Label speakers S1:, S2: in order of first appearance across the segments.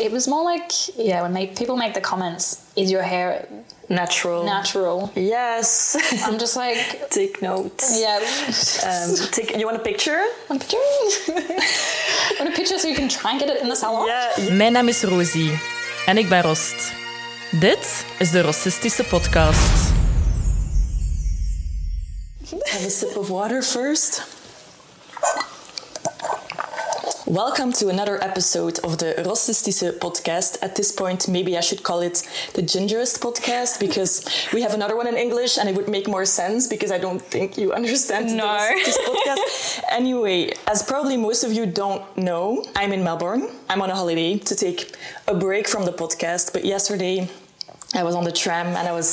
S1: It was more like, yeah, when make, people make the comments, is your hair
S2: Natural.
S1: natural?
S2: yes.
S1: I'm just like,
S2: take notes.
S1: yeah.
S2: Um, take, you want a picture?
S1: want a picture? want a picture so you can try and get it in the salon?
S2: Yeah.
S3: Mijn naam is Rosie en ik ben Rost. Dit is de Rostistische Podcast.
S2: Have a sip of water first. Welcome to another episode of the Rossistische podcast. At this point, maybe I should call it the Gingerist podcast because we have another one in English and it would make more sense because I don't think you understand
S1: No.
S2: this podcast. Anyway, as probably most of you don't know, I'm in Melbourne. I'm on a holiday to take a break from the podcast, but yesterday I was on the tram and I was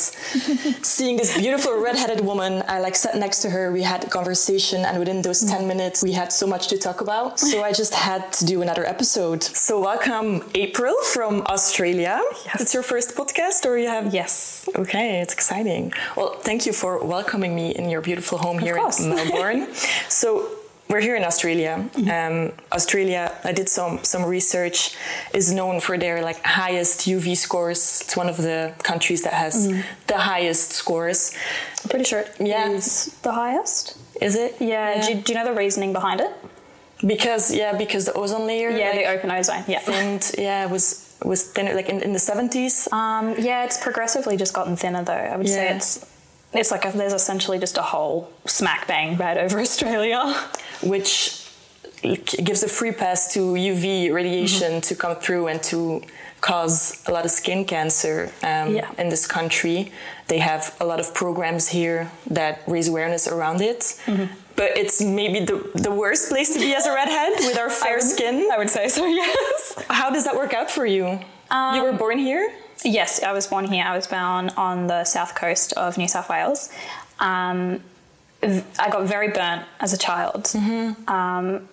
S2: seeing this beautiful redheaded woman. I like sat next to her. We had a conversation, and within those 10 minutes, we had so much to talk about. So I just had to do another episode. So, welcome, April from Australia. It's your first podcast, or you have?
S4: Yes.
S2: Okay, it's exciting. Well, thank you for welcoming me in your beautiful home here
S4: course.
S2: in Melbourne. so we're here in Australia.
S4: Mm-hmm.
S2: Um, Australia, I did some some research, is known for their like highest UV scores. It's one of the countries that has
S4: Mm-hmm.
S2: the highest scores.
S4: I'm pretty sure it
S2: Yeah.
S4: is the highest.
S2: Is it?
S4: Yeah. Do, you, do you know the reasoning behind it?
S2: Because yeah, because the ozone layer.
S4: Yeah,
S2: like,
S4: the open ozone. Yeah.
S2: and yeah, was was thinner like in, in the seventies.
S4: Um, yeah, it's progressively just gotten thinner though. I would say
S2: Yeah.
S4: it's it's like a, there's essentially just a whole smack bang right over Australia.
S2: which gives a free pass to UV radiation
S4: Mm-hmm.
S2: to come through and to cause a lot of skin cancer um,
S4: Yeah.
S2: in this country. They have a lot of programs here that raise awareness around it.
S4: Mm-hmm.
S2: But it's maybe the, the worst place to be as a redhead with our fair skin.
S4: I would say so. Yes. Um,
S2: How does that work out for you? you were born here?
S4: yes, I was born here. I was born on the south coast of New South Wales. Um, v- I got very burnt as a child. Um,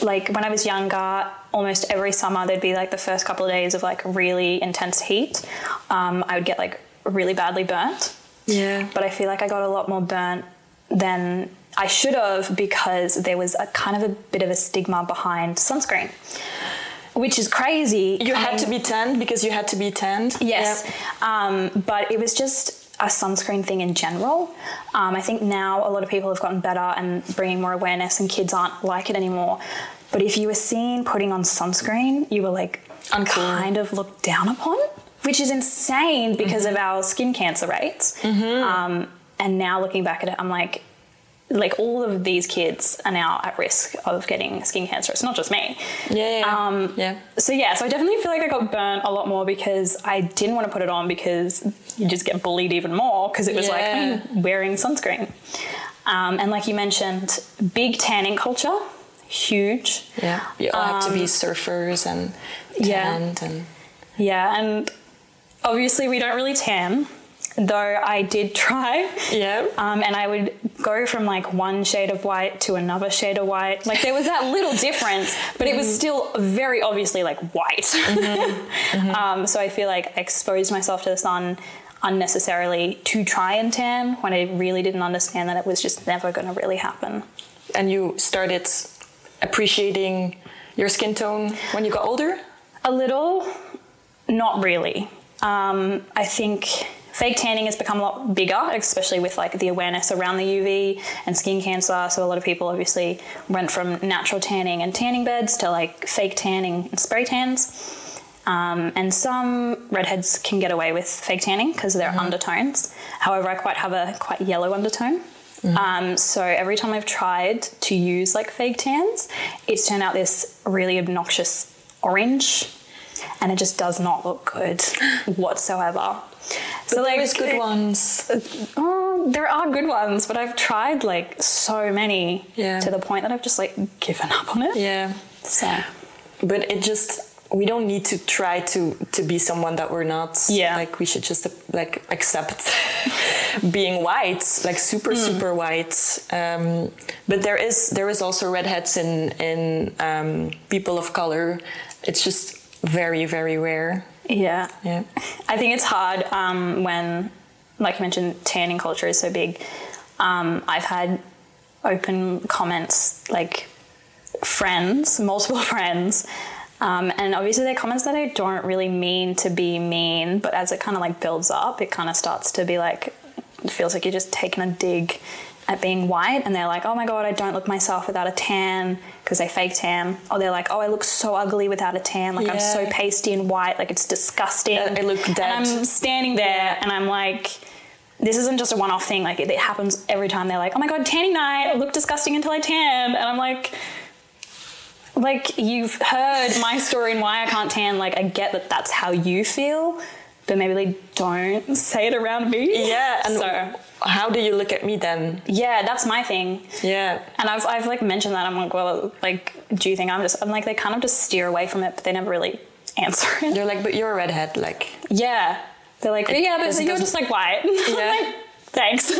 S4: like when I was younger, almost every summer there'd be like the first couple of days of like really intense heat. Um, I would get like really badly burnt,
S2: Yeah.
S4: but I feel like I got a lot more burnt than I should have because there was a kind of a bit of a stigma behind sunscreen, which is crazy.
S2: You had
S4: coming-
S2: to be tanned because you had to be tanned?
S4: Um, Yes. Um, but it was just a sunscreen thing in general. Um, I think now a lot of people have gotten better and bringing more awareness, and kids aren't like it anymore. But if you were seen putting on sunscreen, you were like
S2: Uncool.
S4: kind of looked down upon, which is insane because of our skin cancer rates. Um, and now looking back at it, I'm like, like all of these kids are now at risk of getting skin cancer. It's not just me
S2: Yeah. Yeah. yeah.
S4: Um,
S2: yeah.
S4: so yeah, so I definitely feel like I got burnt a lot more because I didn't want to put it on because you just get bullied even more because it was like
S2: Yeah.
S4: I'm wearing sunscreen. Um, and like you mentioned, big tanning culture, huge.
S2: Yeah, Um, you all have to be surfers and
S4: yeah.
S2: tanned and
S4: Yeah, and obviously we don't really tan, though I did try.
S2: yeah.
S4: Um, and I would go from like one shade of white to another shade of white. Like there was that little difference, but it was still very obviously like white. um, so I feel like I exposed myself to the sun unnecessarily to try and tan when I really didn't understand that it was just never going to really happen.
S2: and you started appreciating your skin tone when you got older.
S4: A little, not really. Um, I think fake tanning has become a lot bigger, especially with like the awareness around the UV and skin cancer. So a lot of people obviously went from natural tanning and tanning beds to like fake tanning and spray tans. Um, and some redheads can get away with fake tanning because of their
S2: Mm-hmm.
S4: undertones. However, I quite have a quite yellow undertone.
S2: Mm-hmm.
S4: Um, so every time I've tried to use like fake tans, it's turned out this really obnoxious orange, and it just does not look good whatsoever. so
S2: There is good ones.
S4: Oh, there are good ones, but I've tried like so many
S2: Yeah.
S4: to the point that I've just like given up on it.
S2: Yeah,
S4: So
S2: but it just we don't need to try to to be someone that we're not.
S4: Yeah.
S2: like we should just like accept being white, like super super white. Um, but there is there is also redheads in in um, people of color. It's just very very rare.
S4: yeah.
S2: Yeah.
S4: I think it's hard um, when, like you mentioned, tanning culture is so big. Um, I've had open comments, like friends, multiple friends, Um, and obviously, they're comments that I don't really mean to be mean, but as it kind of like builds up, it kind of starts to be like, it feels like you're just taking a dig at being white and they're like, oh my god, I don't look myself without a tan because they fake tan. Or they're like, oh, I look so ugly without a tan. Like I'm
S2: Yeah.
S4: so pasty and white. Like it's disgusting.
S2: I- I look
S4: And
S2: dead.
S4: I'm standing there and I'm like, this isn't just a one off thing. Like it, it happens every time. They're like, oh my god, tanning night. I look disgusting until I tan. And I'm like, like you've heard my story and why I can't tan. Like I get that that's how you feel. But maybe they don't say it around me.
S2: Yeah, and
S4: so
S2: how do you look at me then?
S4: yeah, that's my thing.
S2: Yeah.
S4: And I've, I've like mentioned that I'm like, well, like, do you think I'm just? I'm like, they kind of just steer away from it, but they never really answer it.
S2: You're like, but you're a redhead, like.
S4: Yeah, they're like, yeah, but
S2: doesn't-
S4: you're just like white. I'm
S2: Yeah.
S4: like, Thanks.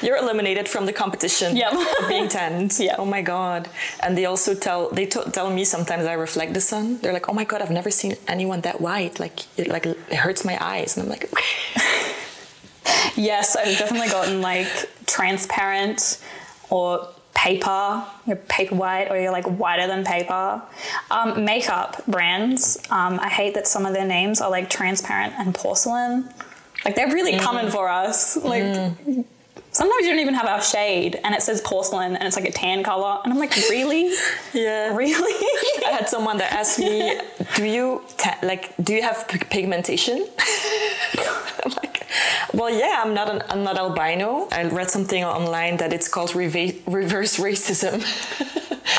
S2: You're eliminated from the competition
S4: Yep.
S2: of being tanned.
S4: Yeah.
S2: Oh my god. And they also tell they t- tell me sometimes I reflect the sun. They're like, oh my god, I've never seen anyone that white. Like it like it hurts my eyes. And I'm like,
S4: yes, I've definitely gotten like transparent or paper, you're paper white, or you're like whiter than paper. Um, makeup brands, um, I hate that some of their names are like transparent and porcelain. Like they're really coming for us. Like Mm. sometimes you don't even have our shade, and it says porcelain, and it's like a tan color, and I'm like, really,
S2: yeah.
S4: really?
S2: I had someone that asked me, "Do you ta- like? Do you have pig- pigmentation?" I'm like, well, yeah, I'm not an, I'm not albino. I read something online that it's called reva- reverse racism.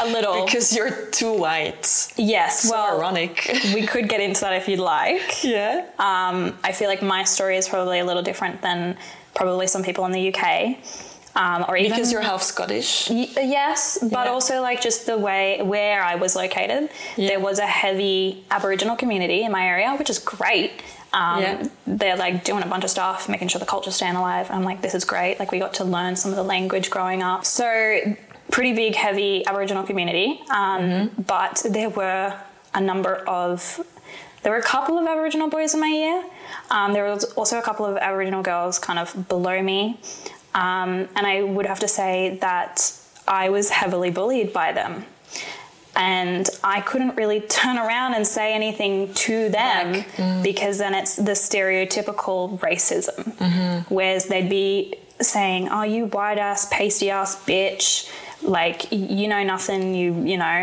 S4: A little.
S2: because you're too white.
S4: yes.
S2: Well,
S4: Well,
S2: ironic.
S4: we could get into that if you'd like.
S2: yeah.
S4: um, I feel like my story is probably a little different than probably some people in the UK. Um, or even
S2: Because you're half Scottish.
S4: Y- yes, but
S2: Yeah.
S4: also like just the way where I was located, there was a heavy Aboriginal community in my area, which is great. Um,
S2: Yeah.
S4: They're like doing a bunch of stuff, making sure the culture's staying alive. I'm like, this is great. Like we got to learn some of the language growing up. So pretty big, heavy Aboriginal community, um,
S2: Mm-hmm.
S4: but there were a number of there were a couple of Aboriginal boys in my year. Um, there was also a couple of Aboriginal girls kind of below me. Um, and I would have to say that I was heavily bullied by them. And I couldn't really turn around and say anything to them because then it's the stereotypical racism, whereas they'd be saying, "Oh, you white ass, pasty ass bitch, like y- you know nothing, you you know,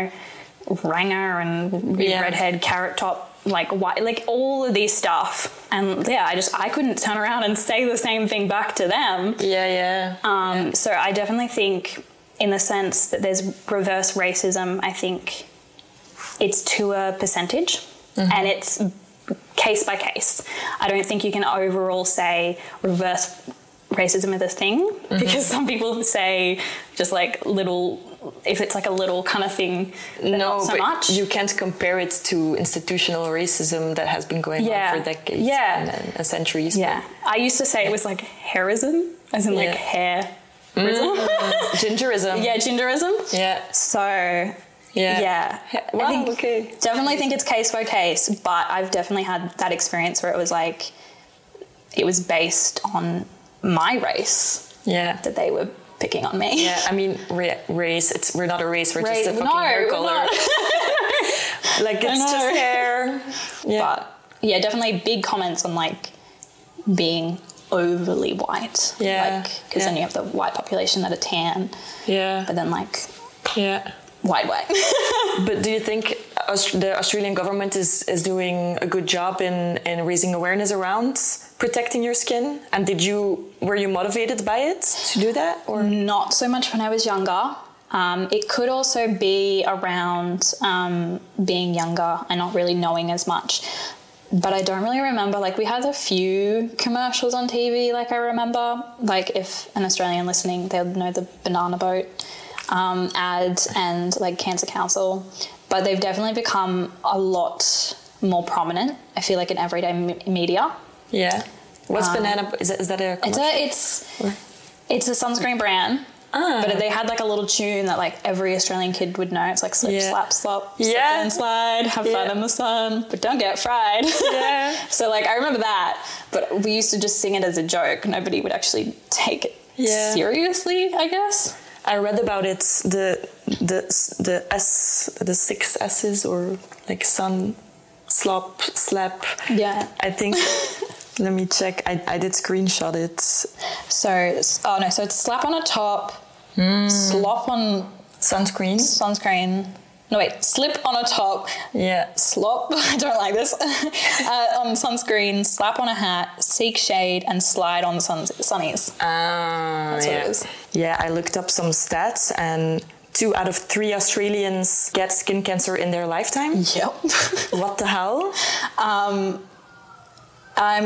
S4: ranger and
S2: Yeah.
S4: redhead carrot top." Like white, like all of these stuff, and yeah, I just I couldn't turn around and say the same thing back to them.
S2: Yeah, yeah.
S4: Um, So I definitely think, in the sense that there's reverse racism, I think it's to a percentage
S2: Mm-hmm.
S4: and it's case by case. I don't think you can overall say reverse racism is a thing
S2: Mm-hmm.
S4: because some people say just like little, if it's like a little kind of thing, then
S2: no,
S4: not so
S2: but
S4: much.
S2: you can't compare it to institutional racism that has been going
S4: Yeah.
S2: on for decades
S4: Yeah.
S2: and, and, and centuries.
S4: yeah. I used to say it was like hairism, as in
S2: Yeah.
S4: like hair.
S2: Gingerism.
S4: Yeah, genderism.
S2: Yeah.
S4: So
S2: Yeah.
S4: Yeah.
S2: Wow,
S4: I think,
S2: okay.
S4: Definitely think it's case by case, but I've definitely had that experience where it was like, it was based on my race
S2: Yeah.
S4: that they were picking on me.
S2: Yeah, I mean ra- race. It's we're not a race. We're
S4: Race-
S2: just a fucking
S4: no,
S2: hair
S4: we're
S2: color.
S4: not.
S2: like it's
S4: know.
S2: just hair. Yeah,
S4: But yeah, definitely big comments on like being overly white.
S2: Yeah,
S4: Like, because
S2: yeah.
S4: then you have the white population that are tan,
S2: yeah,
S4: but then like
S2: yeah.
S4: white, white.
S2: But do you think Aus- the Australian government is is doing a good job in in raising awareness around protecting your skin? And did you were you motivated by it to do that or?
S4: not so much when I was younger. Um, it could also be around um, being younger and not really knowing as much. But I don't really remember. Like, we had a few commercials on TV, like, I remember. Like, if an Australian listening, they'll know the banana boat um, ad and, like, Cancer Council. But they've definitely become a lot more prominent, I feel like, in everyday m- media.
S2: Yeah. What's banana? Is that, is that a?
S4: Um, It's
S2: commercial?
S4: a it's it's a sunscreen brand.
S2: Ah.
S4: But they had like a little tune that like every Australian kid would know. It's like slip,
S2: Yeah.
S4: slap, slop,
S2: Yeah.
S4: slip and slide, have
S2: Yeah.
S4: fun in the sun, but don't get fried.
S2: Yeah.
S4: so like I remember that, but we used to just sing it as a joke. Nobody would actually take it
S2: Yeah.
S4: seriously, I guess.
S2: I read about it. The the the s the six s's or like sun slop slap
S4: Yeah.
S2: i think let me check i, I did screenshot it
S4: So, it's- oh no, so it's slap on a top,
S2: Hmm.
S4: slop on
S2: sunscreen
S4: sunscreen. No, wait, slip on a top,
S2: yeah
S4: slop, I don't like this, uh, on sunscreen, slap on a hat, seek shade, and slide on the suns- sunnies.
S2: Ah,
S4: That's what
S2: yeah.
S4: it is.
S2: Yeah, I looked up some stats and two out of three Australians get skin cancer in their lifetime.
S4: Yep.
S2: what the hell?
S4: Um,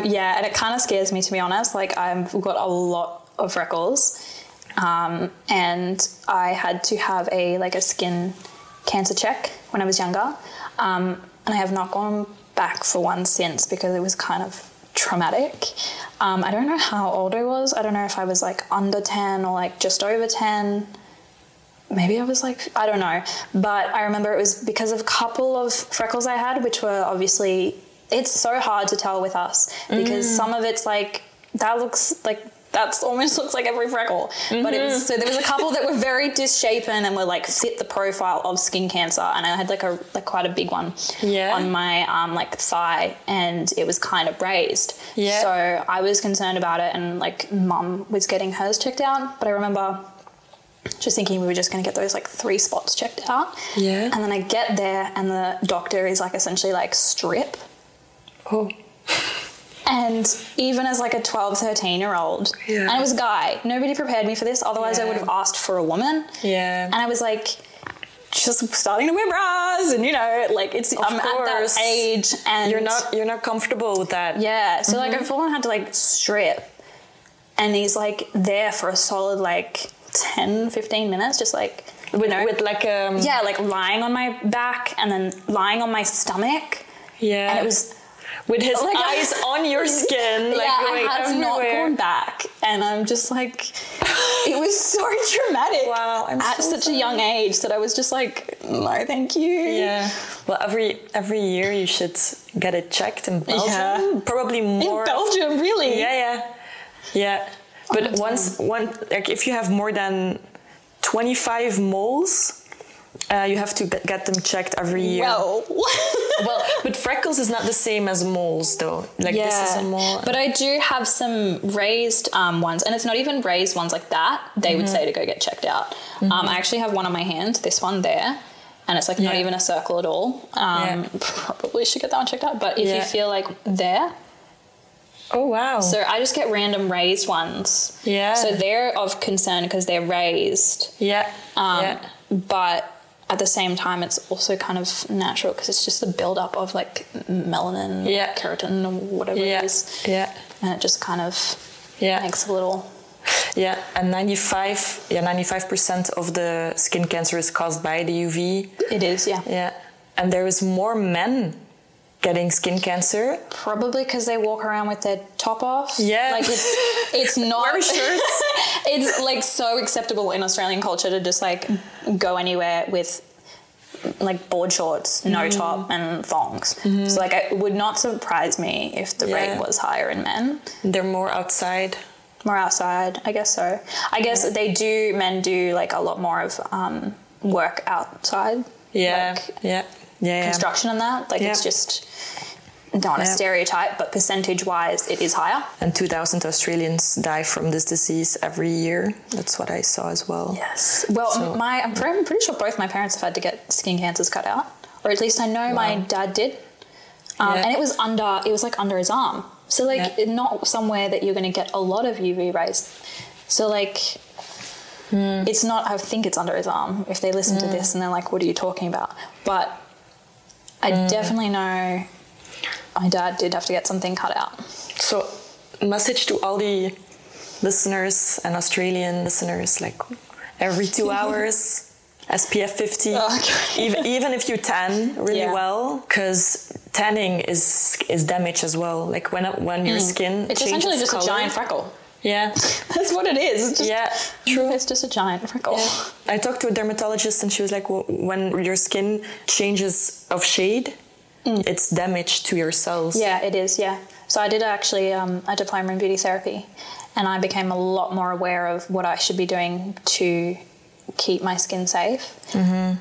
S4: yeah, and it kind of scares me to be honest. Like I've got a lot of freckles, um, and I had to have a like a skin cancer check when I was younger, um, and I have not gone back for one since because it was kind of traumatic. Um, I don't know how old I was. I don't know if I was like under ten or like just over ten maybe I was like, I don't know. But I remember it was because of a couple of freckles I had, which were obviously, it's so hard to tell with us because
S2: Mm.
S4: some of it's like, that looks like, that's almost looks like every freckle. But it
S2: Mm-hmm.
S4: was, so there was a couple that were very disshapen and were like fit the profile of skin cancer. And I had like a, like quite a big one
S2: Yeah.
S4: on my um, like thigh and it was kind of raised.
S2: Yeah.
S4: So I was concerned about it and like mum was getting hers checked out. But I remember just thinking we were just going to get those like three spots checked out.
S2: Yeah.
S4: And then I get there, and the doctor is like essentially like strip.
S2: Oh.
S4: And even as like a 12, 13 year old,
S2: Yeah.
S4: and it was a guy, nobody prepared me for this. Otherwise, I
S2: Yeah.
S4: would have asked for a woman.
S2: Yeah.
S4: And I was like, just starting to wear bras, and you know, like it's, I'm at
S2: course.
S4: that age, and
S2: You're not Mm-hmm. you're not comfortable with that.
S4: yeah. So like I've only had to like strip and he's like there for a solid like 10, 15 minutes, just like
S2: With, with like um
S4: yeah, like lying on my back and then lying on my stomach.
S2: yeah.
S4: And it was
S2: with his
S4: like, I-
S2: eyes on your skin, like
S4: yeah,
S2: going
S4: I have not
S2: everywhere.
S4: gone back, and I'm just like, it was so traumatic.
S2: Wow, I'm
S4: at
S2: so
S4: such
S2: sorry.
S4: a young age that I was just like, no, thank you.
S2: Yeah. Well, every every year you should get it checked in Belgium.
S4: Yeah.
S2: Probably
S4: in
S2: more.
S4: Belgium, really.
S2: Yeah, yeah, yeah.
S4: Oh,
S2: But once one like if you have more than twenty five moles, uh, you have to get get them checked every year.
S4: Well,
S2: Well, but freckles is not the same as moles though. Like
S4: yeah.
S2: this is a mole.
S4: But I do have some raised um, ones, and it's not even raised ones like that. They
S2: Mm-hmm.
S4: would say to go get checked out. Um, I actually have one on my hand, this one there, and it's like not
S2: Yeah.
S4: even a circle at all. Um,
S2: Yeah.
S4: Probably should get that one checked out. But if you
S2: Yeah.
S4: feel like there,
S2: oh wow.
S4: so I just get random raised ones.
S2: Yeah.
S4: So they're of concern because they're raised.
S2: yeah.
S4: Um,
S2: yeah.
S4: But at the same time, it's also kind of natural because it's just the buildup of like melanin,
S2: Yeah.
S4: keratin, or whatever
S2: Yeah.
S4: it is.
S2: Yeah.
S4: And it just kind of
S2: Yeah.
S4: makes a little
S2: Yeah, and 95 yeah, 95% of the skin cancer is caused by the UV.
S4: it is yeah
S2: Yeah. And there is more men getting skin cancer.
S4: probably because they walk around with their top off
S2: Yeah.
S4: like it's it's not
S2: Wear shirts.
S4: it's like so acceptable in australian culture to just like go anywhere with like board shorts no
S2: Mm-hmm.
S4: top and thongs so like it would not surprise me if the
S2: Yeah.
S4: rate was higher in men
S2: They're more outside.
S4: more outside i guess so i guess they do men do like a lot more of um work outside
S2: Yeah.
S4: like,
S2: yeah. Yeah. yeah.
S4: construction and that. Like it's
S2: Yeah.
S4: just not a
S2: Yeah.
S4: stereotype, but percentage wise, it is higher.
S2: And 2,000 Australians die from this disease every year. That's what I saw as well.
S4: Yes. Well,
S2: So-
S4: my I'm pretty, I'm pretty sure both my parents have had to get skin cancers cut out, or at least I know my dad did, um,
S2: Yeah.
S4: and it was under it was like under his arm. So like
S2: Yeah.
S4: not somewhere that you're going to get a lot of UV rays. So like.
S2: Hmm.
S4: It's not, I think it's under his arm if they listen to this and they're like, what are you talking about? But I
S2: Hmm.
S4: definitely know my dad did have to get something cut out.
S2: So, message to all the listeners and Australian listeners like every two hours, SPF 50.
S4: Oh, okay.
S2: even, even if you tan really
S4: Yeah.
S2: well, because tanning is is damage as well. Like when when your skin
S4: Mm. It's
S2: changes
S4: essentially just
S2: color.
S4: a giant freckle.
S2: yeah.
S4: That's what it is. It's just,
S2: Yeah,
S4: true. It's just a giant freckle.
S2: I talked to a dermatologist and she was like, "Wh- when your skin changes of shade, it's damage to your cells.
S4: Mm. Yeah, it is. Yeah. So I did actually um, a diploma in beauty therapy, and I became a lot more aware of what I should be doing to keep my skin safe.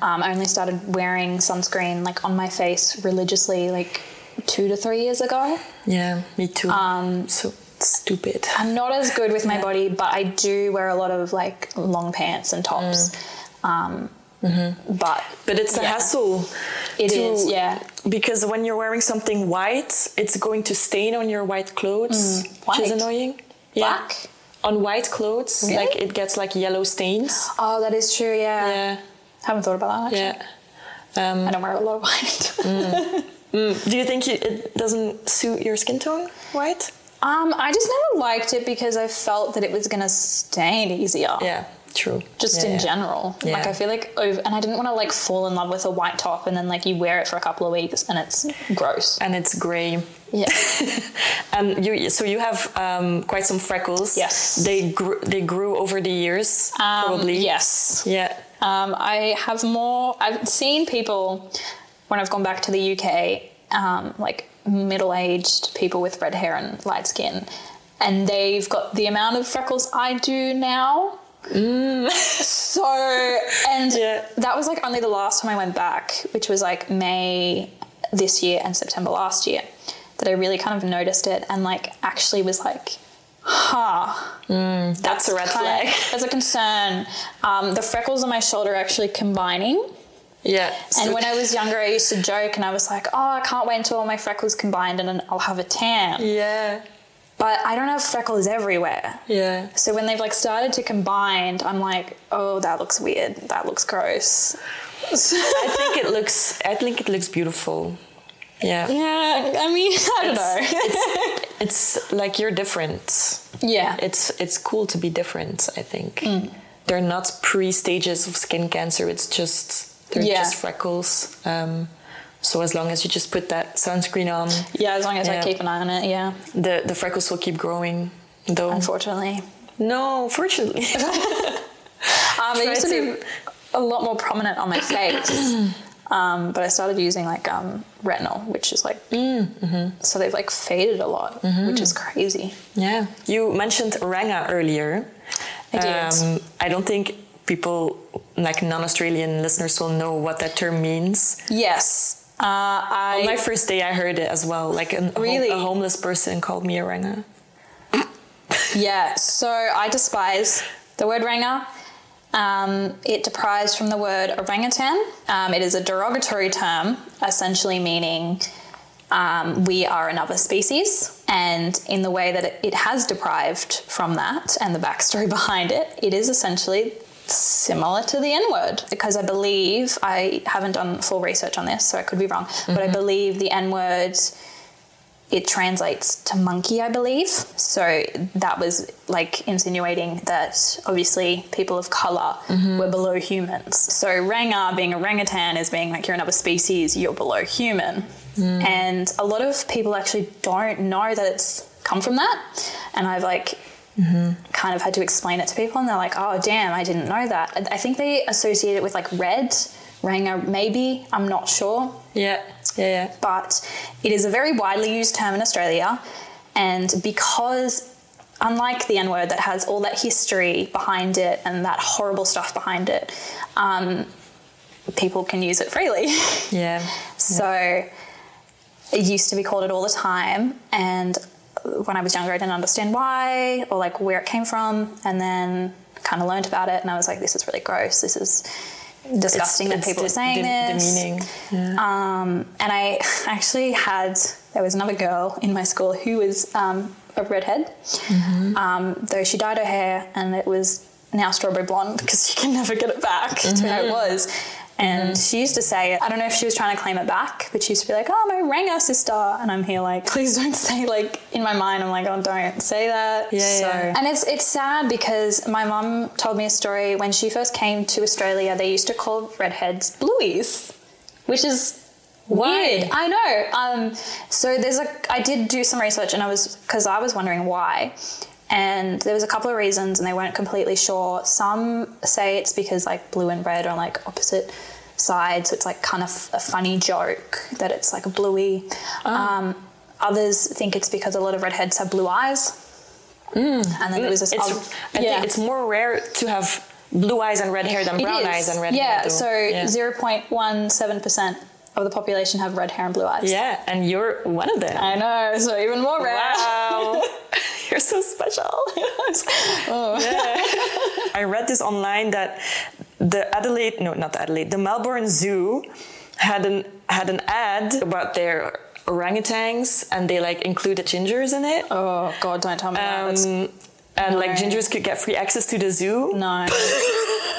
S4: Um, I only started wearing sunscreen like on my face religiously like two to three years ago.
S2: Yeah, me too. Um, so stupid.
S4: I'm not as good with my body, but I do wear a lot of like long pants and tops. Um, But
S2: But it's a
S4: Yeah.
S2: hassle.
S4: it is,
S2: to-
S4: yeah.
S2: Because when you're wearing something white, it's going to stain on your white clothes, which is
S4: Mm. White?
S2: annoying.
S4: Black?
S2: On white clothes,
S4: Really?
S2: like it gets like yellow stains.
S4: Oh, that is true. Yeah,
S2: Yeah,
S4: haven't thought about that. Actually.
S2: yeah. Um,
S4: I don't wear a lot of white.
S2: Do you think it- it doesn't suit your skin tone, white?
S4: um, I just never liked it because I felt that it was gonna stain easier.
S2: Yeah, true.
S4: Just
S2: Yeah,
S4: in
S2: yeah.
S4: general,
S2: Yeah.
S4: like I feel like, over, and I didn't want to like fall in love with a white top and then like you wear it for a couple of weeks and it's gross.
S2: And it's grey.
S4: Yeah.
S2: And Um, you, so you have um, quite some freckles.
S4: Yes.
S2: They grew, they grew over the years,
S4: Um,
S2: probably.
S4: Yes.
S2: Yeah.
S4: Um, I have more. I've seen people when I've gone back to the UK, um, like middle-aged people with red hair and light skin, and they've got the amount of freckles I do now. So and
S2: Yeah.
S4: that was like only the last time I went back, which was like May this year and September last year, that I really kind of noticed it and like actually was like, huh
S2: That's a red
S4: kind
S2: flag.
S4: That's a concern. Um, the freckles on my shoulder are actually combining.
S2: Yeah.
S4: And
S2: so-
S4: when I was younger, I used to joke and I was like, oh, I can't wait until all my freckles combined and then I'll have a tan.
S2: yeah.
S4: But I don't have freckles everywhere.
S2: Yeah.
S4: So when they've like started to combine, I'm like, oh, that looks weird. That looks gross.
S2: I think it looks. I think it looks beautiful. Yeah.
S4: Yeah, I mean, I don't know.
S2: It's like you're different.
S4: yeah.
S2: It's it's cool to be different. I think
S4: Mm.
S2: they're not pre stages of skin cancer. It's just they're
S4: Yeah.
S2: just freckles. Um, so as long as you just put that sunscreen on,
S4: yeah, as long as
S2: Yeah.
S4: I keep an eye on it, yeah,
S2: the the freckles will keep growing. Though
S4: unfortunately.
S2: no, fortunately.
S4: Um, it used to,
S2: to-
S4: be a lot more prominent on my face. um, but I started using like um, retinol, which is like,
S2: Mm, mm-hmm.
S4: so they've like faded a lot, which is crazy.
S2: Yeah. You mentioned Oranga earlier.
S4: I did.
S2: Um, I don't think people, like non Australian listeners, will know what that term means.
S4: Yes. Uh, I,
S2: On my first day, I heard it as well. Like an, a hom-
S4: Really?
S2: a homeless person called me Oranga.
S4: yeah, so I despise the word ranger. Um, it derives from the word orangutan. Um, it is a derogatory term, essentially meaning um, we are another species. And in the way that it, it has deprived from that and the backstory behind it, it is essentially similar to the N word. Because I believe, I haven't done full research on this, so I could be wrong, but I believe the N word. It translates to monkey, I believe. So that was like insinuating that obviously people of color were below humans. So Rangar being orangutan is being like you're another species, you're below human. And a lot of people actually don't know that it's come from that. And I've like kind of had to explain it to people, and they're like, "Oh, damn, I didn't know that." And I think they associate it with like red, Rangar, maybe. I'm not sure
S2: Yeah. Yeah. yeah.
S4: but it is a very widely used term in Australia. And because, unlike the N word that has all that history behind it and that horrible stuff behind it, um, people can use it freely.
S2: Yeah.
S4: so it used to be called it all the time. And when I was younger, I didn't understand why or like where it came from. And then kind of learned about it, and I was like, this is really gross. This is disgusting
S2: It's-
S4: that people
S2: it's
S4: are saying
S2: de-
S4: this.
S2: Demeaning. Yeah.
S4: Um, and I actually had, there was another girl in my school who was um, a redhead,
S2: Mm-hmm.
S4: um, though she dyed her hair and it was now strawberry blonde because you can never get it back to how
S2: Mm-hmm.
S4: it was. And she used to say it. I don't know if she was trying to claim it back, but she used to be like, oh, my Ranga sister. And I'm here like, please don't say, like, in my mind, I'm like, oh, don't say that.
S2: Yeah, yeah.
S4: And it's it's sad because my mum told me a story when she first came to Australia. They used to call redheads blueies, which is weird. I know. Um, so there's a I did do some research and I was because I was wondering why, and there was a couple of reasons and they weren't completely sure. Some say it's because like blue and red are like opposite sides, so it's like kind of a funny joke that it's like a bluey.
S2: Ah.
S4: Um, others think it's because a lot of redheads have blue eyes. And then it was this.
S2: Mm. It's,
S4: other-
S2: I
S4: yeah.
S2: think it's more rare to have blue eyes and red hair than
S4: It
S2: brown
S4: is.
S2: eyes and red
S4: yeah,
S2: hair. though.
S4: so
S2: yeah.
S4: 0.17% of the population have red hair and blue eyes.
S2: Yeah, and you're one of them.
S4: I know, so even more rare.
S2: Wow. You're so special. Yeah. I read this online that the Adelaide, no, not Adelaide, the Melbourne Zoo had an had an ad about their orangutans and they like included gingers in it.
S4: Oh, God, don't tell me that. That's-
S2: Um, and like gingers could get free access to the zoo
S4: no.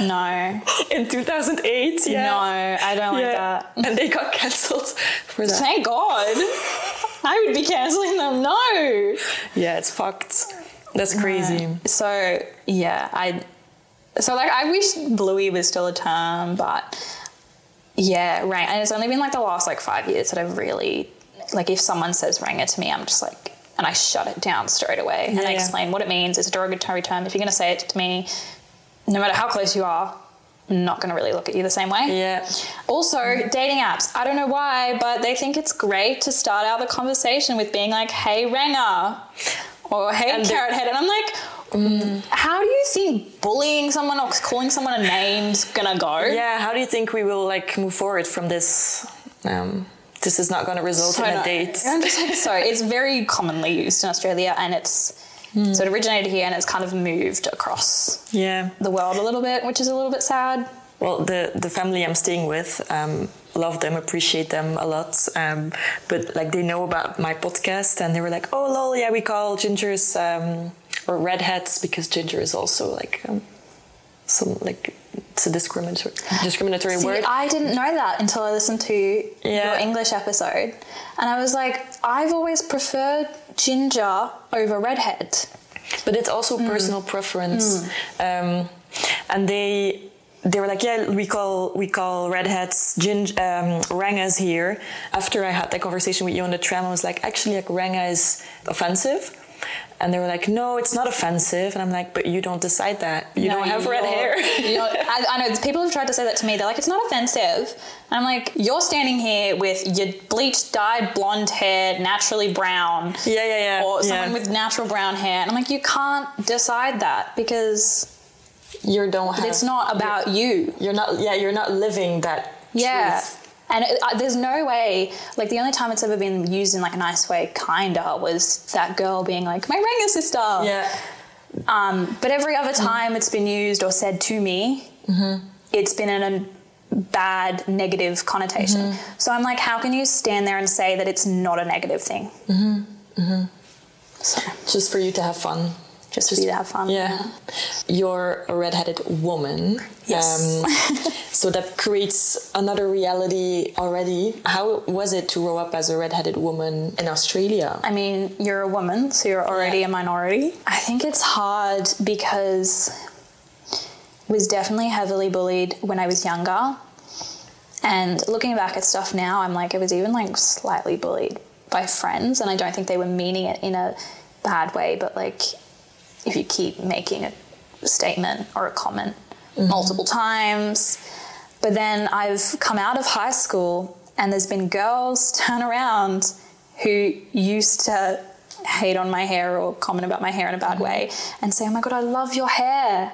S4: no.
S2: in 2008. Yeah.
S4: No, I don't like
S2: Yeah.
S4: that.
S2: And they got cancelled for that.
S4: Thank God. I would be cancelling them. No.
S2: Yeah, it's fucked. That's crazy.
S4: So yeah, I so like I wish bluey was still a term, but yeah, rang and it's only been like the last like five years that I've really like if someone says ranger to me, I'm just like and I shut it down straight away and I
S2: Yeah.
S4: explain what it means. It's a derogatory term. If you're gonna say it to me, no matter how close you are, I'm not gonna really look at you the same way.
S2: Yeah.
S4: Also, dating apps. I don't know why, but they think it's great to start out the conversation with being like, hey, Ranger, or hey,
S2: And the- Mm.
S4: Carrot Head. And I'm like, how do you think bullying someone or calling someone a name's gonna go?
S2: Yeah, how do you think we will like move forward from this? Um, this is not going to result
S4: So
S2: in a
S4: not-
S2: date.
S4: I'm just like, sorry, it's very commonly used in Australia and it's.
S2: Hmm.
S4: So it originated here and it's kind of moved across
S2: Yeah.
S4: the world a little bit, which is a little bit sad.
S2: Well, the the family I'm staying with, um, love them, appreciate them a lot. Um, but like they know about my podcast, and they were like, "Oh, lol, yeah, we call gingers um, or redheads because ginger is also like um, some like it's a discriminatory discriminatory
S4: See,
S2: word."
S4: I didn't know that until I listened to
S2: Yeah.
S4: your English episode. And I was like, I've always preferred ginger over redhead.
S2: but it's also
S4: Mm.
S2: personal preference. Um, and they they were like, yeah, we call we call redheads gin, um, rangas here. After I had that conversation with you on the tram, I was like, actually, like ranga is offensive. And they were like, no, it's not offensive. And I'm like, but you don't decide that. You
S4: No,
S2: don't have red
S4: you're-
S2: hair.
S4: you're- I, I know people have tried to say that to me. They're like, it's not offensive. And I'm like, you're standing here with your bleached, dyed blonde hair, naturally brown,
S2: yeah, yeah, yeah.
S4: or
S2: yeah.
S4: someone with natural brown hair. And I'm like, you can't decide that because
S2: you don't have.
S4: it's not about you.
S2: You're not. Yeah, you're not living that.
S4: Yeah.
S2: truth.
S4: And it, uh, there's no way, like the only time it's ever been used in like a nice way, kinda, was that girl being like, my Ranga sister.
S2: Yeah.
S4: Um, but every other time it's been used or said to me, Mm-hmm. it's been in a bad negative connotation. So I'm like, how can you stand there and say that it's not a negative thing? Mm-hmm. Mm-hmm. So
S2: Just for you to have fun.
S4: just, for you to have fun.
S2: Yeah. You're a redheaded woman.
S4: Yes.
S2: Um, so that creates another reality already. How was it to grow up as a redheaded woman in Australia?
S4: I mean, you're a woman, so you're already
S2: Yeah.
S4: a minority. I think it's hard because was definitely heavily bullied when I was younger. And looking back at stuff now, I'm like, I was even like slightly bullied by friends, and I don't think they were meaning it in a bad way, but like, if you keep making a statement or a comment
S2: Mm-hmm.
S4: multiple times. But then I've come out of high school, and there's been girls turn around who used to hate on my hair or comment about my hair in a
S2: Mm-hmm.
S4: bad way and say, Oh my God, I love your hair.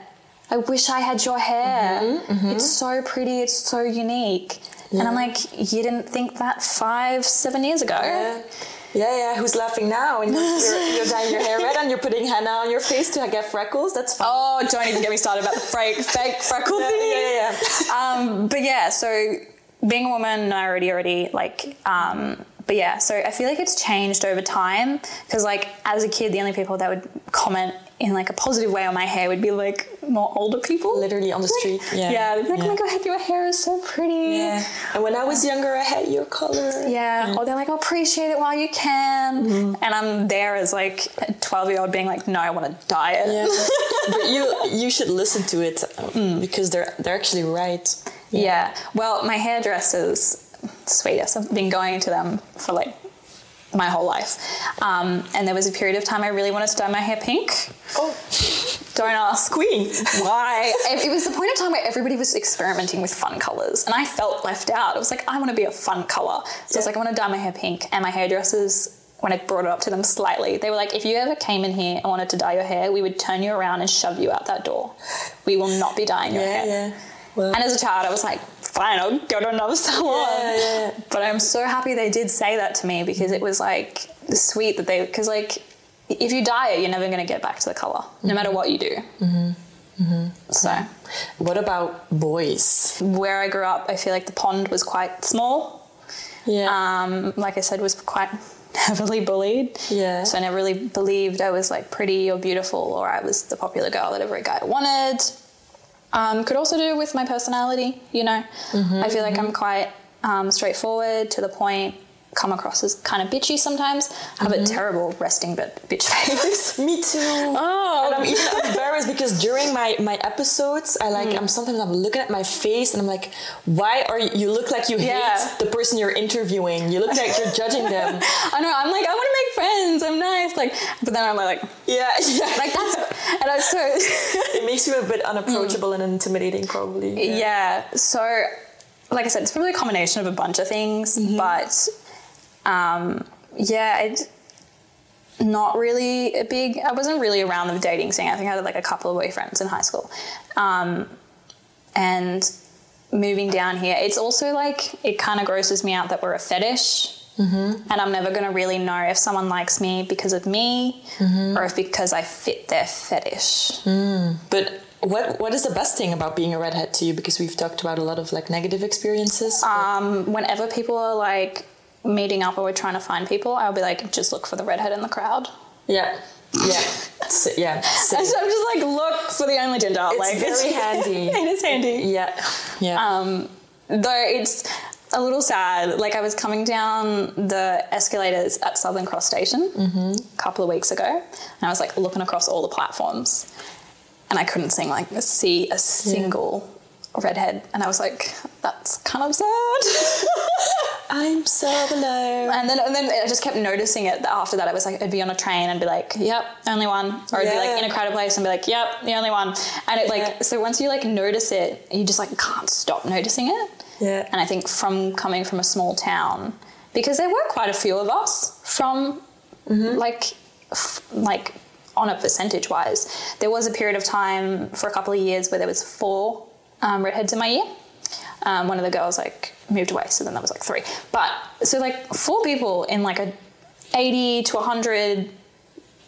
S4: I wish I had your hair.
S2: Mm-hmm,
S4: It's so pretty, it's so unique. And I'm like, You didn't think that five, seven years ago?
S2: Yeah, yeah, yeah. Who's laughing now? And you're, you're, you're dyeing your hair red and you're putting henna on your face to get freckles. That's fun.
S4: Oh, don't even get me started about the fake, fake freckle
S2: Yeah,
S4: thing.
S2: yeah, yeah, yeah.
S4: um, but yeah, so being a woman, I already, already like, um, but yeah, so I feel like it's changed over time because, like, as a kid, the only people that would comment in like a positive way on my hair would be like more older people,
S2: Literally on the
S4: Like,
S2: street, yeah.
S4: yeah, they'd be like, oh my
S2: Yeah.
S4: god, your hair is so pretty.
S2: Yeah. And when I was younger, I had your color.
S4: Yeah, or they're like, oh, appreciate it while you can.
S2: Mm-hmm.
S4: And I'm there as like a 12 year old being like, no, I want to dye it.
S2: Yeah. but you you should listen to it um,
S4: Hmm.
S2: because they're they're actually right.
S4: Yeah. Well, my hairdressers, sweetest, I've been going to them for like my whole life. Um, and there was a period of time I really wanted to dye my hair pink.
S2: Oh,
S4: Don't ask
S2: queen.
S4: why. It it was the point of time where everybody was experimenting with fun colors, and I felt left out. I was like, I want to be a fun color. So I was
S2: Yeah.
S4: like, I want to dye my hair pink. And my hairdressers when I brought it up to them slightly, they were like, if you ever came in here and wanted to dye your hair, we would turn you around and shove you out that door. We will not be dyeing your
S2: Yeah,
S4: hair.
S2: yeah. Well-
S4: and as a child, I was like, fine, I'll go to another salon.
S2: Yeah, yeah.
S4: But I'm so happy they did say that to me because it was like sweet that they, because like, if you dye it, you're never going to get back to the color, no matter what you do. Mm-hmm.
S2: Mm-hmm.
S4: So
S2: What about boys?
S4: where I grew up, I feel like the pond was quite small.
S2: Yeah.
S4: um, like I said, was quite heavily bullied.
S2: Yeah.
S4: So I never really believed I was like pretty or beautiful or I was the popular girl that every guy wanted. Um, could also do with my personality, you know. I feel like I'm quite um, straightforward, to the point, come across as kind of bitchy sometimes. I have a terrible resting but bitch face.
S2: me too.
S4: Oh.
S2: and I'm even embarrassed because during my, my episodes, I like I'm sometimes I'm looking at my face and I'm like, why are you, you look like you
S4: Yeah.
S2: hate the person you're interviewing? You look like you're judging them.
S4: I know, I'm like, I want to make friends, I'm nice, like, but then I'm like,
S2: Yeah, yeah.
S4: like that's, and I'm so,
S2: it makes you a bit unapproachable and intimidating, probably.
S4: yeah. So, like I said, it's probably a combination of a bunch of things, but um, yeah, it, not really a big. I wasn't really around the dating scene. I think I had like a couple of boyfriends in high school, um, and moving down here, it's also like it kind of grosses me out that we're a fetish. And I'm never going to really know if someone likes me because of me or if because I fit their fetish.
S2: But what what is the best thing about being a redhead to you? Because we've talked about a lot of like negative experiences.
S4: um, whenever people are like meeting up or we're trying to find people, I'll be like, just look for the redhead in the crowd.
S2: yeah, yeah, S- yeah. same.
S4: And so I'm just like, look for the only ginger.
S2: It's
S4: like,
S2: very handy.
S4: it is handy.
S2: Yeah, yeah.
S4: Um, though it's a little sad. Like I was coming down the escalators at Southern Cross Station
S2: Mm-hmm.
S4: a couple of weeks ago, and I was like looking across all the platforms, and I couldn't sing like see a single redhead, and I was like, that's kind of sad.
S2: I'm so alone.
S4: And then, and then I just kept noticing it that after that. I was like, I'd be on a train and be like, yep, only one. Or I'd be
S2: Yeah.
S4: like in a crowded place and be like, yep, the only one. And it like,
S2: Yeah.
S4: so once you like notice it, you just like can't stop noticing it.
S2: Yeah.
S4: And I think from coming from a small town, because there were quite a few of us from
S2: Mm-hmm.
S4: like, f- like on a percentage wise, there was a period of time for a couple of years where there was four um, redheads in my year. Um, one of the girls like moved away, so then that was like three. But so like four people in like a eighty to hundred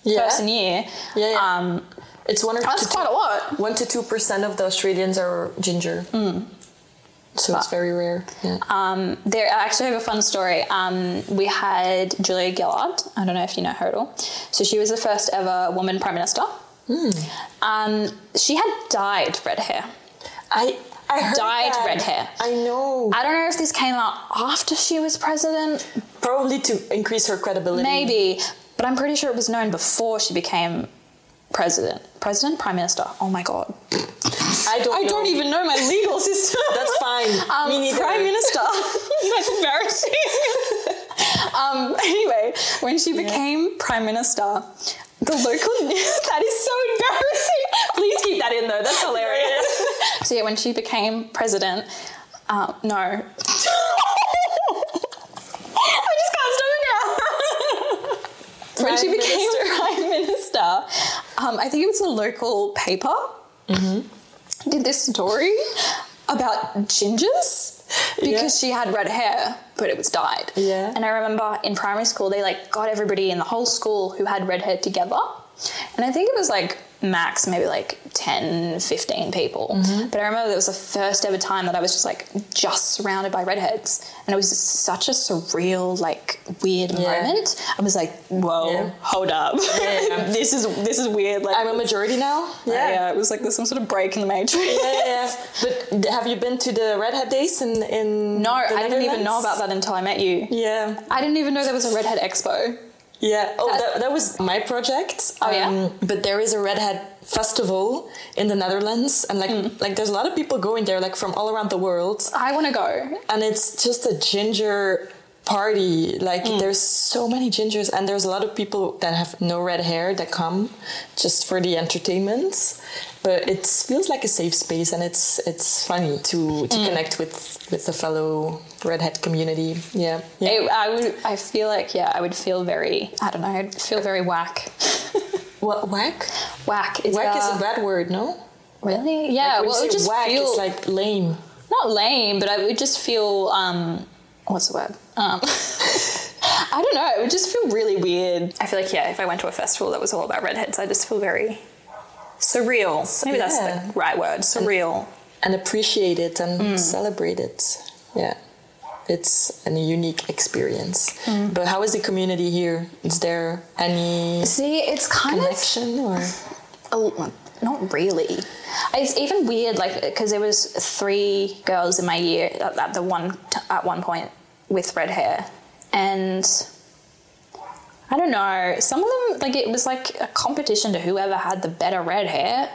S2: yeah.
S4: person year.
S2: Yeah, yeah.
S4: Um,
S2: It's one or
S4: that's
S2: two,
S4: quite a lot.
S2: one to two percent of the Australians are ginger. So it's very rare. Yeah.
S4: Um, there Hmm. I actually have a fun story. Um, we had Julia Gillard. I don't know if you know her at all. So she was the first ever woman prime minister. Hmm. Um, she had dyed red hair.
S2: I I heard
S4: Dyed
S2: that.
S4: red hair.
S2: I know.
S4: I don't know if this came out after she was president,
S2: Probably to increase her credibility.
S4: maybe, but I'm pretty sure it was known before she became president. President, prime minister. Oh my god.
S2: I don't.
S4: I
S2: know.
S4: don't even know my legal system.
S2: That's fine.
S4: Um,
S2: Me neither.
S4: Prime Minister. That's embarrassing. um, anyway, when she became Prime Minister, the local news. That is so embarrassing. Please keep that in though. That's hilarious. so yeah, when she became president, uh, no. I just can't stop it now. when she
S2: Prime
S4: became Prime Minister, um, I think it was a local paper did this story about gingers because she had red hair but it was dyed
S2: Yeah.
S4: and i remember in primary school they like got everybody in the whole school who had red hair together and i think it was like max maybe like 10 15 people
S2: Mm-hmm.
S4: but i remember that was the first ever time that i was just like just surrounded by redheads and it was just such a surreal like weird
S2: Yeah.
S4: moment i was like whoa
S2: Yeah.
S4: hold up
S2: yeah.
S4: this is this is weird like
S2: I'm a majority now. uh,
S4: yeah. it was like there's some sort of break in the matrix
S2: Yeah, yeah, yeah. But d- have you been to the redhead days in in?
S4: No,
S2: the
S4: I didn't even know
S2: Netherlands?
S4: about that until I met you.
S2: Yeah,
S4: I didn't even know there was a redhead expo.
S2: yeah. Oh, that, that was my project. Um,
S4: Oh, yeah?
S2: But there is a redhead festival in the Netherlands, and like
S4: Mm.
S2: like there's a lot of people going there, like from all around the world,
S4: I want to go.
S2: and it's just a ginger party. Like
S4: Mm.
S2: there's so many gingers, and there's a lot of people that have no red hair that come just for the entertainment. But it feels like a safe space, and it's it's funny to to
S4: Mm.
S2: connect with with the fellow redhead community. Yeah, yeah.
S4: It, I would. I feel like yeah. I would feel very. I don't know. I'd feel very whack.
S2: What whack?
S4: whack is
S2: Whack is
S4: uh,
S2: a bad word, no?
S4: really yeah.
S2: When
S4: well, it
S2: you
S4: would
S2: say
S4: just
S2: whack,
S4: feel
S2: it's like lame.
S4: not lame, but I would just feel um, what's the word? Um, I don't know. It would just feel really weird.
S5: I feel like yeah, if I went to a festival that was all about redheads, I just feel very surreal. Maybe
S2: yeah.
S5: that's the right word. Surreal.
S2: and appreciate it and
S4: Mm.
S2: celebrate it. Yeah. It's a unique experience.
S4: Mm.
S2: But how is the community here? Is there any
S4: See, it's kind of
S2: connection or
S4: Oh, not really. It's even weird, like because there was three girls in my year at, at the one t- at one point with red hair, and I don't know. Some of them, like it was like a competition to whoever had the better red hair.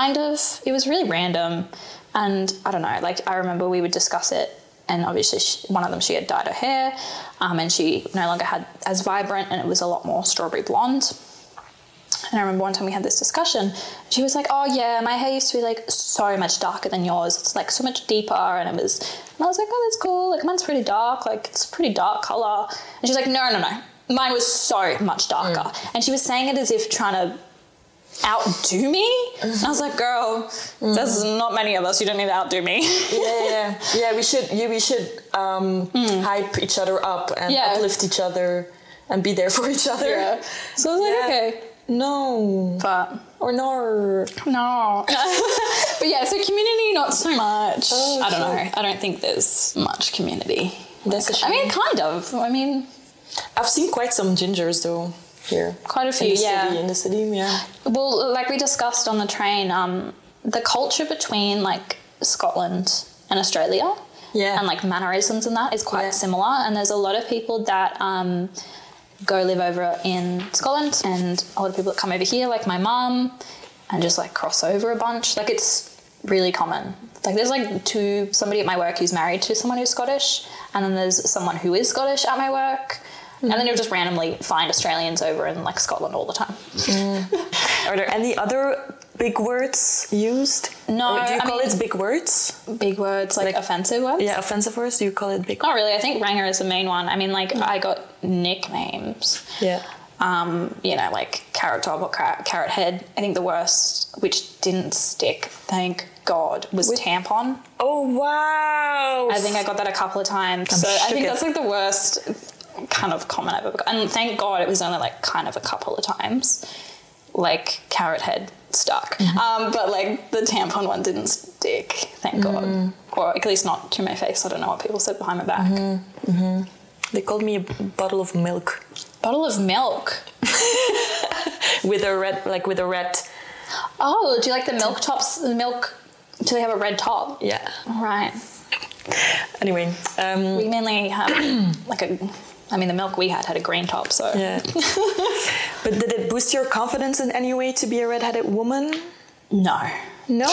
S4: Kind of. It was really random, and I don't know. Like I remember we would discuss it. And obviously, she, one of them, she had dyed her hair, um, and she no longer had as vibrant, and it was a lot more strawberry blonde. And I remember one time we had this discussion. She was like, "Oh yeah, my hair used to be like so much darker than yours. It's like so much deeper." And it was, and I was like, "Oh, that's cool. Like mine's pretty dark. Like it's a pretty dark color." And she's like, "No, no, no. Mine was so much darker."
S2: Mm.
S4: And she was saying it as if trying to outdo me. And I was like, "Girl,
S2: Mm.
S4: there's not many of us. You don't need to outdo me."
S2: yeah, yeah, yeah. We should, yeah, we should um, hype each other up and
S4: Mm. Yeah.
S2: uplift each other and be there for each other.
S4: Yeah. So I was like,
S2: Yeah.
S4: "Okay,
S2: No,
S4: but
S2: or nor.
S4: no." but yeah, so community not so much.
S2: Oh,
S4: I don't
S2: sure.
S4: know. I don't think there's much community.
S2: That's a
S4: I
S2: shame.
S4: mean, kind of. I mean,
S2: I've seen quite some gingers though here.
S4: quite a few.
S2: in the
S4: yeah.
S2: city, in the city, yeah.
S4: Well, like we discussed on the train, um, the culture between like Scotland and Australia,
S2: Yeah.
S4: and like mannerisms and that is quite
S2: Yeah.
S4: similar. And there's a lot of people that um, go live over in Scotland, and a lot of people that come over here, like my mum, and just like cross over a bunch. Like it's really common. Like there's like two somebody at my work who's married to someone who's Scottish, and then there's someone who is Scottish at my work. And
S2: Mm.
S4: then you'll just randomly find Australians over in like Scotland all the time.
S2: Are there any other big words used?
S4: No,
S2: Or do you
S4: I
S2: call
S4: mean-
S2: it big words?
S4: big words, like, offensive words?
S2: Yeah, offensive words. Do you call it big?
S4: Not really. I think Ranger is the main one. I mean, like, I got nicknames.
S2: Yeah.
S4: Um, you know, like Carrot Top or Car- Carrot Head. I think the worst, which didn't stick, thank God, was Tampon.
S2: Oh wow!
S4: I think I got that a couple of times. so I
S2: shook
S4: think
S2: it.
S4: that's like the worst kind of comment I've ever got. And thank God it was only like kind of a couple of times. Like Carrot Head stuck.
S2: Mm-hmm.
S4: Um, but like the tampon one didn't stick, thank
S2: Mm.
S4: God. Or at least not to my face. I don't know what people said behind my back.
S2: they called me a bottle of milk
S4: Bottle of milk.
S2: with a red, like with a red.
S4: Oh, do you like the milk tops? The milk. Do they have a red top?
S2: Yeah.
S4: Right.
S2: Anyway, um,
S4: We mainly have like a. I mean, the milk we had had a green top, so
S2: yeah. but did it boost your confidence in any way to be a redheaded woman?
S4: no.
S2: No.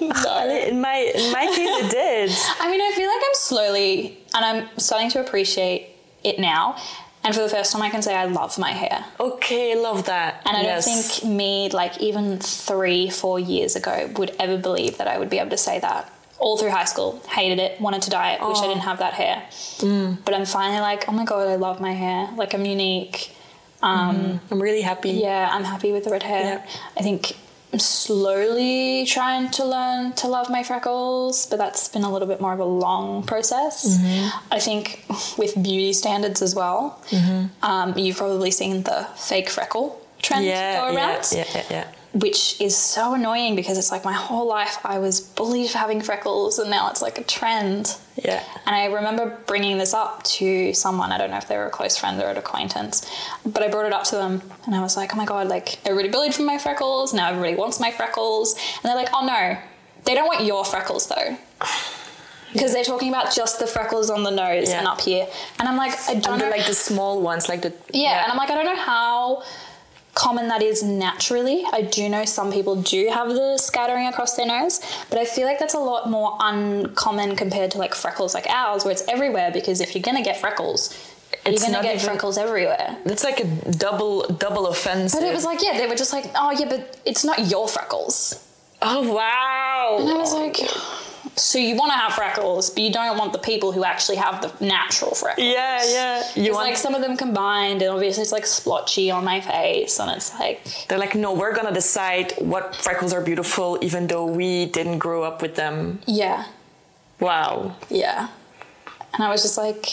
S4: No.
S2: in my in my case, it did.
S4: I mean, I feel like I'm slowly, and I'm starting to appreciate it now. And for the first time, I can say I love my hair.
S2: Okay, love that.
S4: And I
S2: yes.
S4: don't think me, like even three, four years ago, would ever believe that I would be able to say that. All through high school, hated it, wanted to dye it, wish I
S2: Oh.
S4: didn't have that hair.
S2: Mm.
S4: But I'm finally like, oh my god, I love my hair. Like I'm unique.
S2: I'm really happy.
S4: Yeah, I'm happy with the red hair.
S2: Yeah.
S4: I think I'm slowly trying to learn to love my freckles, but that's been a little bit more of a long process.
S2: Mm-hmm.
S4: I think with beauty standards as well,
S2: Mm-hmm.
S4: um, you've probably seen the fake freckle trend
S2: Yeah,
S4: go
S2: yeah,
S4: around
S2: yeah, yeah, yeah.
S4: which is so annoying because it's like my whole life I was bullied for having freckles and now it's like a trend.
S2: Yeah.
S4: And I remember bringing this up to someone, I don't know if they were a close friend or an acquaintance, but I brought it up to them and I was like, oh my god, like everybody bullied for my freckles, now everybody wants my freckles. And they're like, oh no, they don't want your freckles though. Because they're talking about just the freckles on the nose
S2: Yeah.
S4: and up here. And I'm like, I don't
S2: And
S4: know
S2: the, like the small ones, like the
S4: yeah, and I'm like, I don't know how common that is naturally. I do know some people do have the scattering across their nose, but I feel like that's a lot more uncommon compared to like freckles like ours, where it's everywhere. Because if you're gonna get freckles,
S2: It's
S4: you're gonna
S2: not
S4: get
S2: even-
S4: freckles everywhere.
S2: It's like a double double offense.
S4: But it was like, yeah, they were just like, oh yeah, but it's not your freckles.
S2: oh
S4: And I
S2: wow.
S4: was like, so you want to have freckles, but you don't want the people who actually have the natural freckles.
S2: Yeah, yeah. You
S4: It's
S2: want?
S4: like some of them combined, and obviously it's like splotchy on my face, and it's like
S2: they're like, no, we're gonna decide what freckles are beautiful, even though we didn't grow up with them.
S4: yeah,
S2: Wow.
S4: yeah. And I was just like,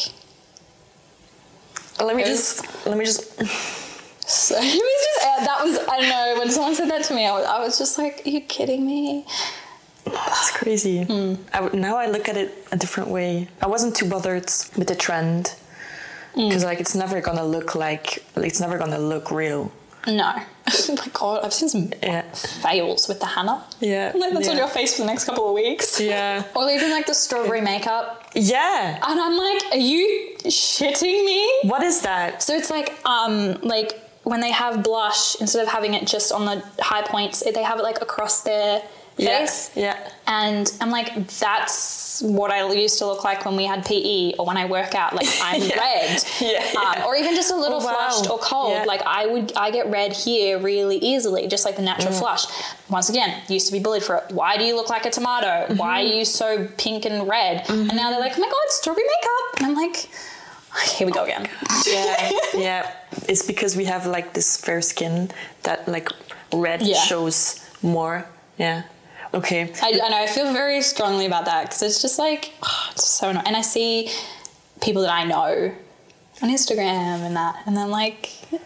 S2: Let me
S4: It
S2: just let me just
S4: so it was just uh, that was I don't know when someone said that to me, I was, I was just like, are you kidding me?
S2: It's crazy.
S4: Hmm.
S2: I w now I look at it a different way. I wasn't too bothered with the trend
S4: Hmm.
S2: because like it's never gonna look like it's never gonna look real.
S4: No. oh my god, I've seen some
S2: Yeah.
S4: fails with the Hannah.
S2: Yeah.
S4: Like that's
S2: yeah.
S4: on your face for the next couple of weeks.
S2: Yeah.
S4: Or even like the strawberry makeup,
S2: Yeah.
S4: and I'm like, are you shitting me?
S2: What is that?
S4: So it's like um like when they have blush instead of having it just on the high points, it- they have it like across their face.
S2: Yeah.
S4: And I'm like, that's what I used to look like when we had PE or when I work out. Like I'm
S2: Yeah.
S4: red,
S2: Yeah,
S4: Um,
S2: yeah.
S4: or even just a little
S2: Oh, wow.
S4: flushed or cold.
S2: Yeah.
S4: Like I would, I get red here really easily, just like the natural flush. Once again, used to be bullied for it. Why do you look like a tomato?
S2: Mm-hmm.
S4: Why are you so pink and red? And now they're like, oh my god, strawberry makeup. And I'm like, here we go again.
S2: Yeah. yeah. It's because we have like this fair skin that like red
S4: Yeah.
S2: shows more. Yeah. Okay.
S4: I, I know. I feel very strongly about that because it's just like oh, it's so annoying. And I see people that I know on Instagram and that, and then like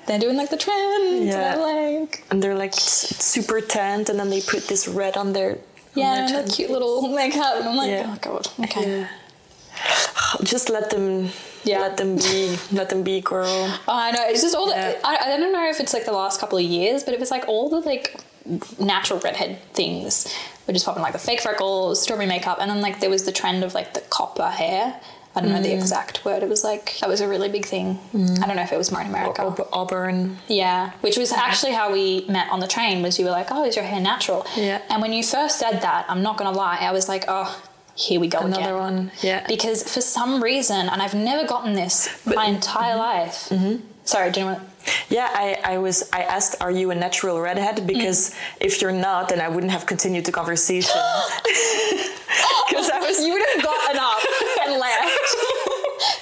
S4: they're doing like the trends.
S2: Yeah.
S4: And I'm like,
S2: And they're like s- super tanned, and then they put this red on their
S4: yeah,
S2: on their
S4: and the
S2: tan.
S4: cute little makeup. And I'm like,
S2: Yeah.
S4: oh god, okay.
S2: Just let them.
S4: Yeah.
S2: Let them be. let them be, girl.
S4: Oh, I know. It's just all
S2: Yeah.
S4: the. I, I don't know if it's like the last couple of years, but it was like all the like natural redhead things were just popping, like the fake freckles, strawberry makeup, and then like there was the trend of like the copper hair. I don't know
S2: Mm.
S4: the exact word. It was like that was a really big thing. I don't know if it was more in America.
S2: Aub- Auburn.
S4: Yeah, which was actually how we met on the train. Was you were like, "Oh, is your hair natural?"
S2: Yeah.
S4: And when you first said that, I'm not gonna lie, I was like, "Oh, here we go
S2: Another
S4: again."
S2: one. Yeah.
S4: Because for some reason, and I've never gotten this my entire life. Mm-hmm. Sorry, do you know what?
S2: Yeah, I, I was. I asked, "Are you a natural redhead?"
S4: Mm.
S2: Because if you're not, then I wouldn't have continued the conversation. Because I was.
S4: You would have gotten up and left.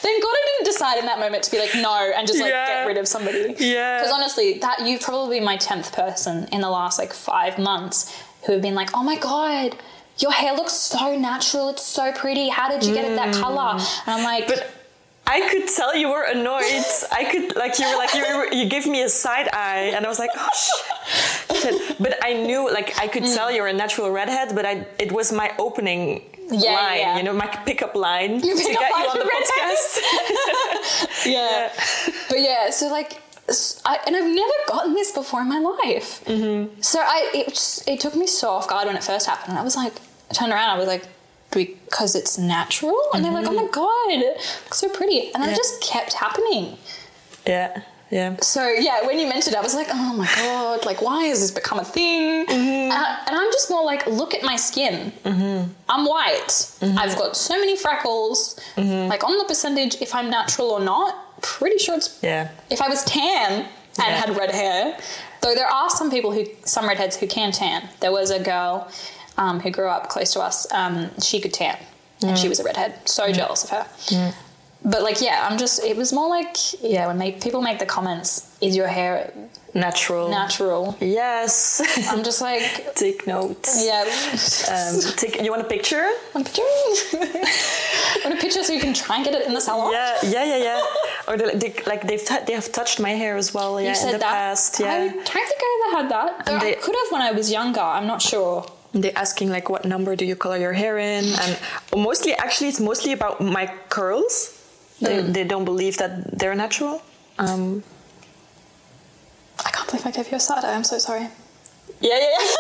S4: Thank God I didn't decide in that moment to be like no and just like
S2: Yeah.
S4: get rid of somebody.
S2: Yeah.
S4: Because honestly, that you've probably been my tenth person in the last like five months who have been like, oh my god. Your hair looks so natural. It's so pretty. How did you get it that color? And I'm like,
S2: Mm. But I could tell you were annoyed. I could like you were like you were, you gave me a side eye, and I was like, oh shit. shit. But I knew like I could
S4: Mm.
S2: tell you're a natural redhead, but I it was my opening
S4: Yeah,
S2: line,
S4: yeah.
S2: you know, my pickup line to
S4: pickup
S2: get
S4: line
S2: you on
S4: for
S2: the
S4: redheads.
S2: podcast.
S4: yeah. but yeah, so like, s I and I've never gotten this before in my life. Mm-hmm. So I, it, just, it took me so off guard when it first happened. And I was like, I turned around, I was like, because it's natural? And they're like, oh my God, it looks so pretty. And
S2: Yeah.
S4: that just kept happening.
S2: Yeah, yeah.
S4: So yeah, when you mentioned it, I was like, oh my God, like, why has this become a thing? And, I, and I'm just more like, look at my skin. I'm white. I've got so many freckles. Like, on the percentage, if I'm natural or not, pretty sure it's
S2: Yeah.
S4: if I was tan and
S2: Yeah.
S4: had red hair, though there are some people who, some redheads who can tan. There was a girl um, who grew up close to us. Um, she could tan, and
S2: Mm.
S4: she was a redhead. So jealous of her. But like, yeah, I'm just. It was more like, yeah, when they, people make the comments, "Is your hair
S2: Natural.
S4: natural?"
S2: Yes.
S4: I'm just like,
S2: Take notes.
S4: yeah.
S2: Um, take, you want a picture?
S4: I'm picturing. I want a picture so you can try and get it in the salon.
S2: Yeah, yeah, yeah, yeah. or they, they, like they've t- they have touched my hair as well. Yeah,
S4: You
S2: in
S4: said
S2: the
S4: that.
S2: past.
S4: I
S2: Yeah.
S4: don't think I ever had that. Though I
S2: they-
S4: could have when I was younger. I'm not sure.
S2: And They're asking like, what number do you color your hair in? And mostly, actually, it's mostly about my curls. They, they don't believe that they're natural. Um,
S4: I can't believe I gave you a side eye. I'm so sorry.
S2: yeah, yeah, yeah.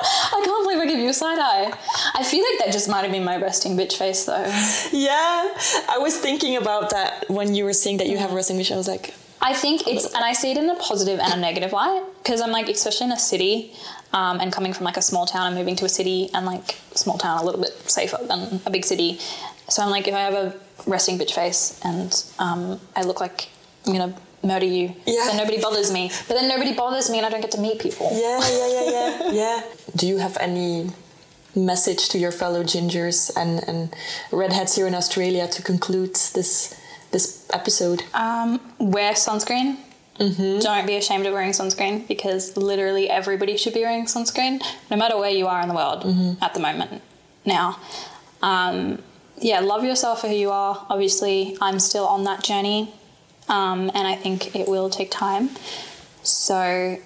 S4: I can't believe I gave you a side eye. I feel like that just might have been my resting bitch face though.
S2: Yeah, I was thinking about that when you were saying that you have resting bitch. I was like,
S4: I think it's, and I see it in a positive and a negative light because I'm like, especially in a city um, and coming from like a small town and moving to a city and like small town a little bit safer than a big city. So I'm like, if I have a resting bitch face and um, I look like I'm going to murder you,
S2: Yeah.
S4: then nobody bothers me. But then nobody bothers me and I don't get to meet people.
S2: Yeah, yeah, yeah, yeah, yeah. Do you have any message to your fellow gingers and, and redheads here in Australia to conclude this this episode?
S4: Um, wear sunscreen. Don't be ashamed of wearing sunscreen because literally everybody should be wearing sunscreen, no matter where you are in the world at the moment. Now, um, yeah, love yourself for who you are. Obviously, I'm still on that journey, um, and I think it will take time. So,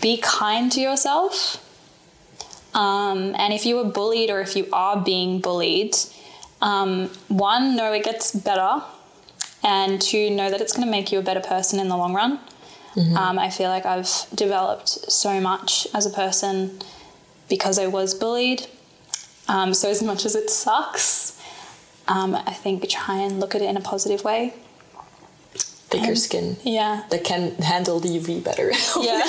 S4: be kind to yourself. Um, and if you were bullied or if you are being bullied, um, one, know it gets better and to know that it's going to make you a better person in the long run. Um, I feel like I've developed so much as a person because I was bullied. Um, so, as much as it sucks, um, I think try and look at it in a positive way.
S2: Thicker skin
S4: Yeah.
S2: that can handle the UV better.
S4: Yeah.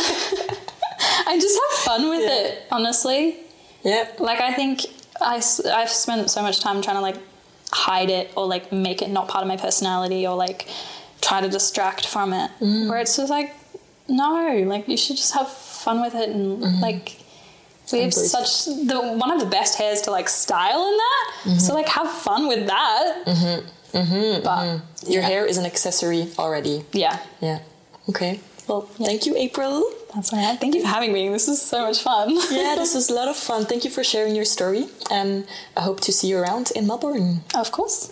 S4: and just have fun with it, honestly.
S2: yeah.
S4: Like, I think I, have spent so much time trying to like hide it or like make it not part of my personality or like try to distract from it. Where it's just like, no, like you should just have fun with it and like. We have
S2: Embrace
S4: such the one of the best hairs to like style in that. So like have fun with that. Mm-hmm. Mm-hmm. But
S2: Your hair is an accessory already.
S4: yeah,
S2: Yeah. Okay. Well, thank you, April.
S4: that's what I had. Thank you for having me. This is so much fun.
S2: Yeah, this was a lot of fun. Thank you for sharing your story, and I hope to see you around in Melbourne.
S4: of course.